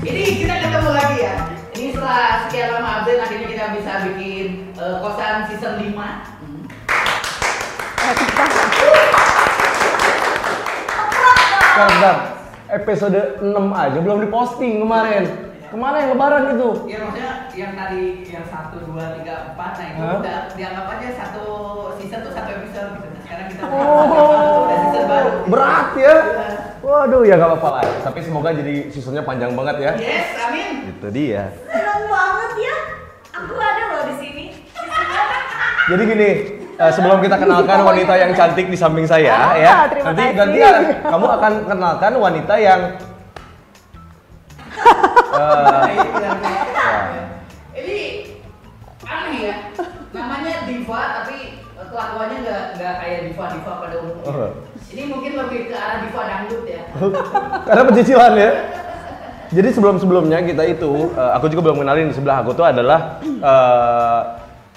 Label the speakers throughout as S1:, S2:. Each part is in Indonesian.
S1: Jadi Nah, kita ketemu lagi ya. Ini setelah sekian lama update akhirnya kita bisa bikin eh, kosan season 5. Hmm.
S2: Bentar, bentar. Episode 6 aja belum diposting kemarin. Kemarin lebaran itu.
S1: Ya maksudnya yang tadi yang 1 2 3 4 nah itu
S2: Hah?
S1: udah dianggap aja satu season tuh satu episode gitu. Sekarang kita udah-
S2: Oh,
S1: udah season baru.
S2: berat ya.
S1: Iya.
S2: Waduh, ya nggak apa-apa lah. Tapi semoga jadi seasonnya panjang banget ya.
S1: Yes, amin.
S2: Itu dia.
S3: Seneng banget ya. Aku ada loh di sini.
S2: Jadi gini, eh, sebelum kita kenalkan wanita yang cantik di samping saya
S3: Ah,
S2: ya,
S3: terima
S2: nanti
S3: kasih.
S2: gantian kamu akan kenalkan wanita yang eh,
S1: Nah, ini bilangnya.
S2: Ya.
S1: Ini aneh ya. Namanya diva tapi kelakuannya nggak nggak kayak diva diva pada umumnya.
S2: Oh.
S1: Ini mungkin lebih ke arah diva dangdut ya.
S2: Karena pencicilan ya. Jadi sebelum-sebelumnya kita itu, eh, aku juga belum kenalin di sebelah aku tuh adalah, eh,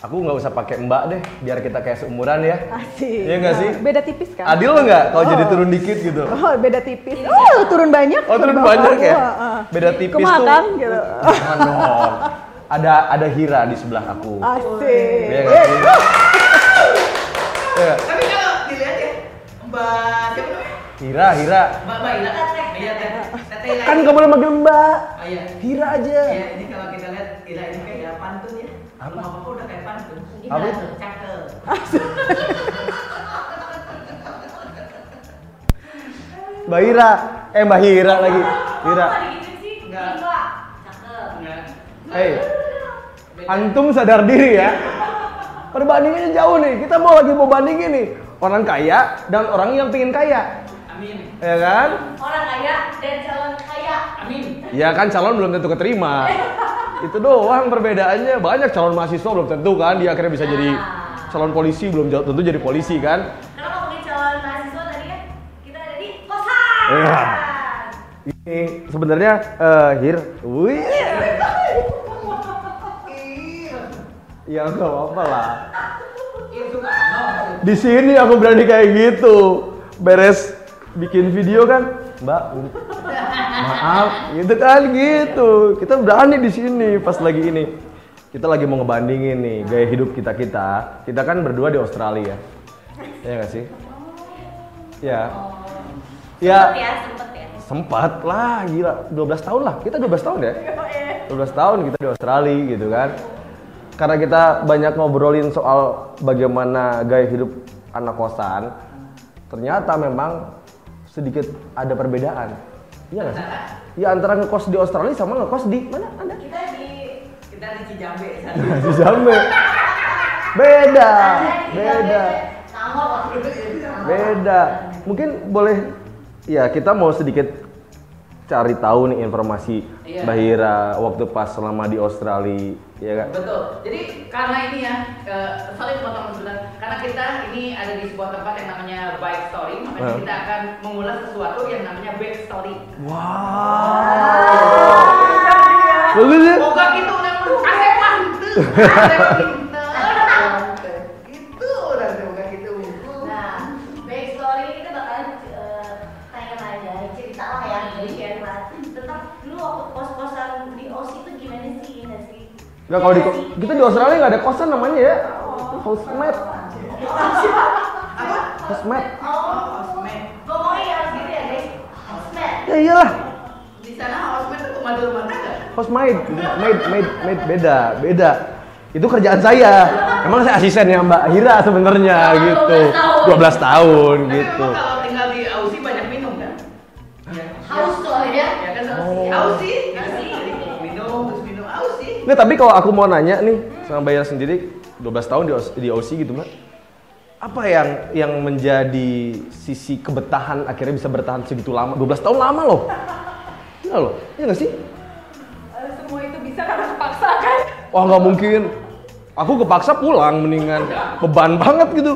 S2: aku nggak usah pakai mbak deh, biar kita kayak seumuran ya.
S4: Asik.
S2: Iya nggak sih? Ah.
S4: Beda tipis kan?
S2: Adil nggak kalau jadi
S4: Oh.
S2: turun dikit gitu?
S4: Oh, beda tipis. Oh, turun banyak.
S2: Oh turun
S4: bawah
S2: banyak ya?
S4: gua, ah.
S2: Beda tipis
S4: Kemakan
S2: tuh.
S4: gitu.
S2: Jangan dong. Ada ada Hira di sebelah aku.
S4: Asik.
S2: Iya nggak sih? Iya nggak?
S1: Tapi kalau dilihat ya Mbak siapa namanya?
S2: Hira, Hira.
S1: Mbak Mbak Ila Teteh. Iya Teteh. Teteh Ila.
S2: Kan nggak boleh manggil mbak.
S1: Oh iya.
S2: Hira aja.
S1: Ya, ini kalau kita lihat Ila ini kayak pantun ya.
S2: Apa?
S1: Rumah Papa udah kayak pantun. Ini
S2: Apa?
S1: pantun, Cakep.
S2: Mbak Hira. Eh Mbak Hira lagi. Hira.
S3: Kok digituin sih?
S1: Enggak.
S3: Enggak. Cakep.
S1: Enggak.
S2: Hei,
S1: Beda.
S2: antum sadar diri ya. Perbandingannya jauh nih. Kita mau lagi mau bandingin nih orang kaya dan orang yang pengen kaya,
S1: Amin.
S2: ya kan?
S3: Orang kaya dan calon kaya.
S1: Amin.
S2: Ya kan calon belum tentu keterima. Itu doang perbedaannya. Banyak calon mahasiswa belum tentu kan dia akhirnya bisa jadi calon polisi belum jauh- tentu jadi polisi kan.
S3: Kenapa ngomongin calon mahasiswa tadi kan? Kita ada di kosan.
S2: Iya. Ini sebenarnya eh Hir, wih. Ya nggak apa-apa lah.
S1: Iya, Soekarno.
S2: Di sini aku berani kayak gitu. Beres bikin video kan, Mbak. Maaf, gitu kan gitu. Kita berani di sini pas lagi ini. Kita lagi mau ngebandingin nih gaya hidup kita kita. Kita kan berdua di Australia. Iya gak sih? Ya. Ya.
S3: Sempet ya, sempet ya.
S2: sempat lah gila 12 tahun lah kita 12 tahun ya 12 tahun kita di Australia gitu kan karena kita banyak ngobrolin soal bagaimana gaya hidup anak kosan ternyata memang sedikit ada perbedaan iya nggak sih ya antara ngekos di Australia sama ngekos di mana anda
S3: Kita di
S1: kita di Cijambe
S2: di Jambe beda
S3: ya,
S2: Ya, beda
S3: Nangor.
S2: beda mungkin boleh ya kita mau sedikit cari tahu nih informasi
S1: Iya.
S2: Mbak Hira waktu pas selama di Australia ya kan
S1: betul jadi karena ini ya eh, sorry teman-teman sebentar karena kita ini ada di sebuah tempat yang namanya bike story makanya
S2: Hmm.
S1: kita akan mengulas sesuatu yang namanya back story
S2: wow bagus ya
S1: moga gitu namanya asep gitu. mantep asep pinter gitu udah moga gitu
S3: Nah, backstory ini kita bakalan eh, tanya aja cerita lah ya, jadi share lah tentang dulu waktu kos-kosan di OS itu gimana sih, ya nggak sih?
S2: Nggak, kalau di
S3: Iya nggak sih? Oh.
S2: kita di Australia nggak ada kosan namanya ya housemate housemate
S3: Oh,
S1: housemate.
S3: ngomongnya yang gitu ya guys, housemate.
S2: ya iyalah
S1: di sana housemate tuh rumah rumah tangga
S2: housemate maid maid maid beda beda itu kerjaan saya emang saya asistennya Mbak Hira sebenarnya
S3: Selama
S2: gitu
S3: 12
S2: 12
S3: tahun.
S2: tahun
S1: tapi
S2: gitu
S1: memang kalau tinggal di Aussie banyak minum kan ya
S3: Haus soalnya.
S1: ya kan
S2: Oh.
S1: Aussie
S3: Aussie.
S1: minum terus minum Aussie
S2: Nggak, tapi kalau aku mau nanya nih sama Bayar sendiri 12 tahun di, Aus- di OC gitu, Mbak. Apa yang yang menjadi sisi kebetahan akhirnya bisa bertahan segitu lama? 12 tahun lama loh. Iya loh. Iya nggak sih?
S4: Eh, Semua itu bisa karena kepaksa kan?
S2: Wah, nggak mungkin. Aku kepaksa pulang mendingan. Beban banget gitu.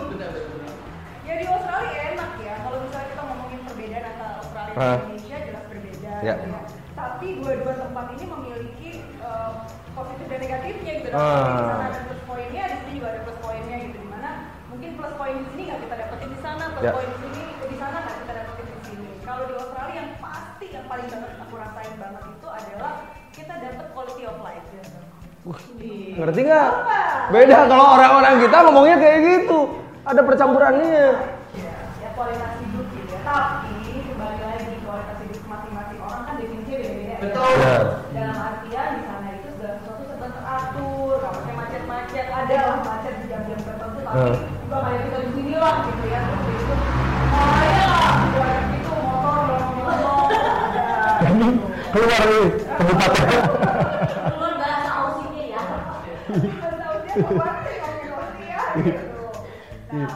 S4: Ya di Australia enak ya. Kalau misalnya kita ngomongin perbedaan antara Australia dan
S2: Ah.
S4: Indonesia jelas berbeda.
S2: Ya.
S4: gitu ya. Tapi dua-dua tempat ini memiliki eh, positif dan negatifnya gitu.
S2: Ah.
S4: Kalau Di sana ada plus poinnya, di sini juga ada plus poinnya gitu. Dimana mungkin plus poin di sini nggak kita dapetin di sana, plus
S2: Ya.
S4: poin di sini di sana nggak kita dapetin di sini. Kalau di Australia yang pasti yang paling banget aku rasain banget itu adalah kita dapet quality of life ya.
S2: Ngerti nggak? Beda kalau orang-orang kita ngomongnya kayak gitu. Ada percampurannya.
S4: Ya, ya kualitas hidup gitu ya. Tapi kembali lagi kualitas hidup masing-masing orang kan definisinya beda-beda. ya.
S1: Betul.
S2: Ya.
S4: Dalam artian di sana itu segala sesuatu serba teratur, kamarnya macet-macet, ada lah macet di jam-jam tertentu, tapi
S2: Hmm.
S4: juga kayak kita di sini lah gitu ya. Terus dia itu mulai lah, buat itu motor belum ada gitu.
S2: Keluar nih, tempatnya.
S3: Keluar bahasa Aussie-nya ya.
S1: Iya.
S4: Tahunnya kemarin dari komunikasi ya, gitu. Nah,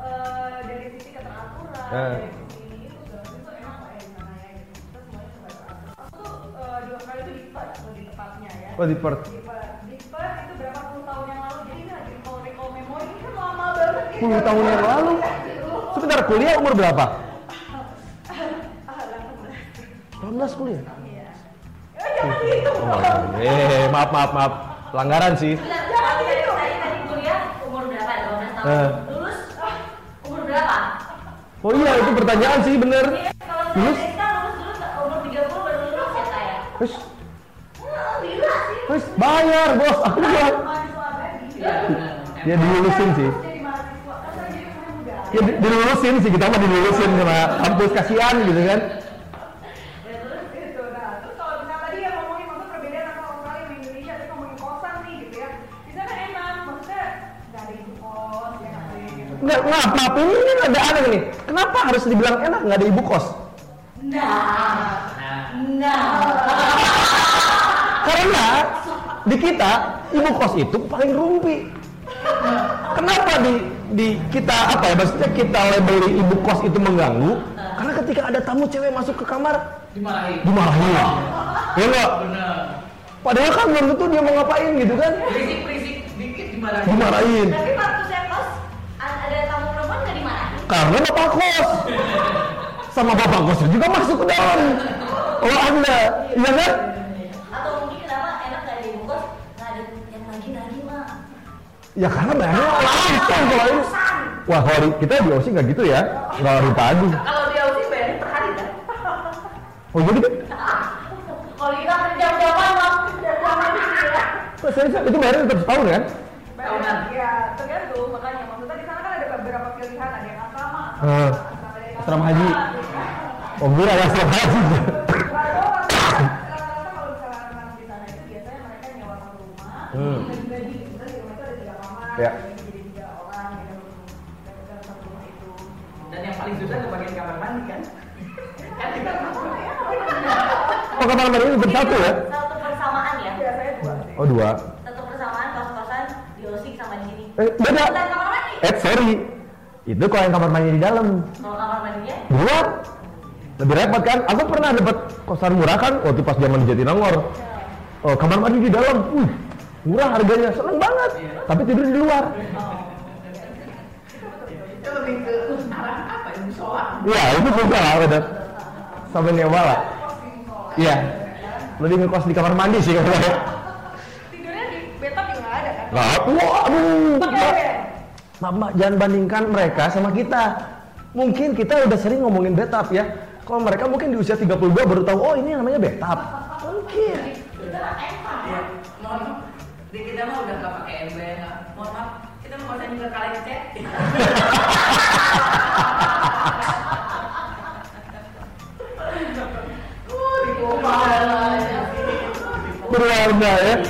S4: eh, dari sisi keteraturan,
S2: Eh.
S4: dari sisi itu segala macam tuh enak lah ya di sana ya, gitu. Kita semuanya serba teratur. Aku tuh eh, di Australia tuh di Perth, lebih tepatnya ya.
S2: Oh, di Perth.
S4: Di Perth. Di Perth itu berapa puluh tahun yang lalu, jadi ini lagi recall recall memory ini kan lama banget. ya.
S2: 10 tahun yang lalu. Sebentar kuliah umur berapa?
S4: Ah, langsung lah.
S2: 18 kuliah.
S4: Iya. Eh, jangan gitu.
S2: Oh, eh, maaf maaf maaf. Pelanggaran sih.
S3: Benar, kalau saya saya tadi kuliah umur berapa ya? 12 tahun.
S2: Eh.
S3: Lulus ah, umur berapa?
S2: Oh iya, itu pertanyaan sih bener.
S3: Iya, kalau saya
S2: Lulus?
S3: Desta lulus dulu umur 30 baru lulus ya saya.
S2: Wis,
S3: Hmm, gila sih.
S2: wis bayar, Bos. Aku juga.
S4: Mahasiswa abadi.
S2: Ya dilulusin sih.
S4: Jadi mahasiswa, kan saya jadi mahasiswa muda.
S2: Ya di- dilulusin sih kita mah dilulusin sama kampus kasihan gitu kan.
S3: Ya, terus
S4: gitu nah terus kalau misalnya tadi yang ngomongin maksud perbedaan antara Australia sama Indonesia terus ngomongin kosan nih gitu ya di sana enak maksudnya nggak ada ibu kos ya nggak ada gitu
S2: Nggak, maaf, maaf, ini, ini ada aneh nih. Kenapa harus dibilang enak nggak ada ibu kos?
S3: Nah,
S1: Nah,
S3: nah.
S2: Karena di kita ibu kos itu paling rumpi. Kenapa di di kita apa ya maksudnya kita labeli ibu kos itu mengganggu? Karena ketika ada tamu cewek masuk ke kamar
S1: dimarahin.
S2: dimarahin. Ya enggak?
S1: Bener.
S2: Padahal kan belum tentu dia mau ngapain gitu kan?
S1: Berisik-berisik dikit dimarahin.
S2: Dimarahin.
S3: Tapi waktu saya kos a- ada tamu perempuan nggak dimarahin.
S2: Karena bapak kos sama bapak kos juga masuk ke dalam. Oh anda, iya kan?
S3: Atau mungkin kenapa enak nggak ada ibu kos nggak ada yang lagi lagi mah.
S2: Ya karena bayarnya langsung kalau ini. Wah kalau di- kita di OSI nggak gitu ya, nggak dipadu.
S3: Kalau dia uji bayarnya per hari kan.
S2: Oh jadi kan?
S3: Kalau kita berjam-jaman waktu berjam-jaman gitu ya.
S2: Kok serius, itu bayarnya tetap setahun kan?
S4: Bayar, ya tergantung makanya maksudnya di sana kan ada beberapa pilihan ada yang asrama
S2: Eh,
S4: dari
S2: asrama
S4: asrama gitu
S2: haji.
S4: kan.
S2: Oh gue ada asrama haji.
S4: Baru rata-rata kalau misalnya anak di sana itu biasanya mereka nyewa satu rumah,
S2: Hmm.
S4: pribadi. Terus di rumah itu ada tiga kamar,
S2: Ya.
S4: jadi tiga orang yang dalam dalam satu rumah itu.
S1: Dan yang paling susah ke bagian kamar mandi kan? Kan kita
S2: Oh kamar mandi ini bersatu ya?
S3: Satu persamaan ya.
S4: Biasanya dua sih.
S2: Oh dua.
S3: Satu persamaan kos-kosan di Osik sama di sini.
S2: Eh beda.
S3: Dan kamar mandi.
S2: Eh sorry, itu kalau yang kamar mandi di dalam.
S3: Kalau kamar mandinya
S2: Di luar lebih repot kan? Aku pernah dapat kosan murah kan waktu pas zaman di Jatinangor. Oh kamar mandi di dalam, Wih, murah harganya, seneng banget. Tapi tidur di luar.
S1: itu lebih ke arah apa ya? Musola.
S2: Iya itu juga lah udah. Sampai nyewa lah. Iya. Lebih ngekos di kamar mandi sih kalau saya.
S4: Tidurnya di bathtub juga nggak ada kan?
S2: Nah, wah, aduh.
S4: Pakai
S2: Mbak.
S4: bed.
S2: Mbak, Mbak, jangan bandingkan mereka sama kita. Mungkin kita udah sering ngomongin betap ya. Kalau mereka mungkin di usia 32 baru tahu, oh ini namanya betap. Mungkin.
S3: kita emang.
S1: Ya, mohon maaf. Di kita mah udah nggak pakai ember. Mohon maaf, kita mau kosan juga kalian cek.
S4: Wuh, di
S1: Oh,
S4: rumah.
S1: malah.
S2: Berwarna ya.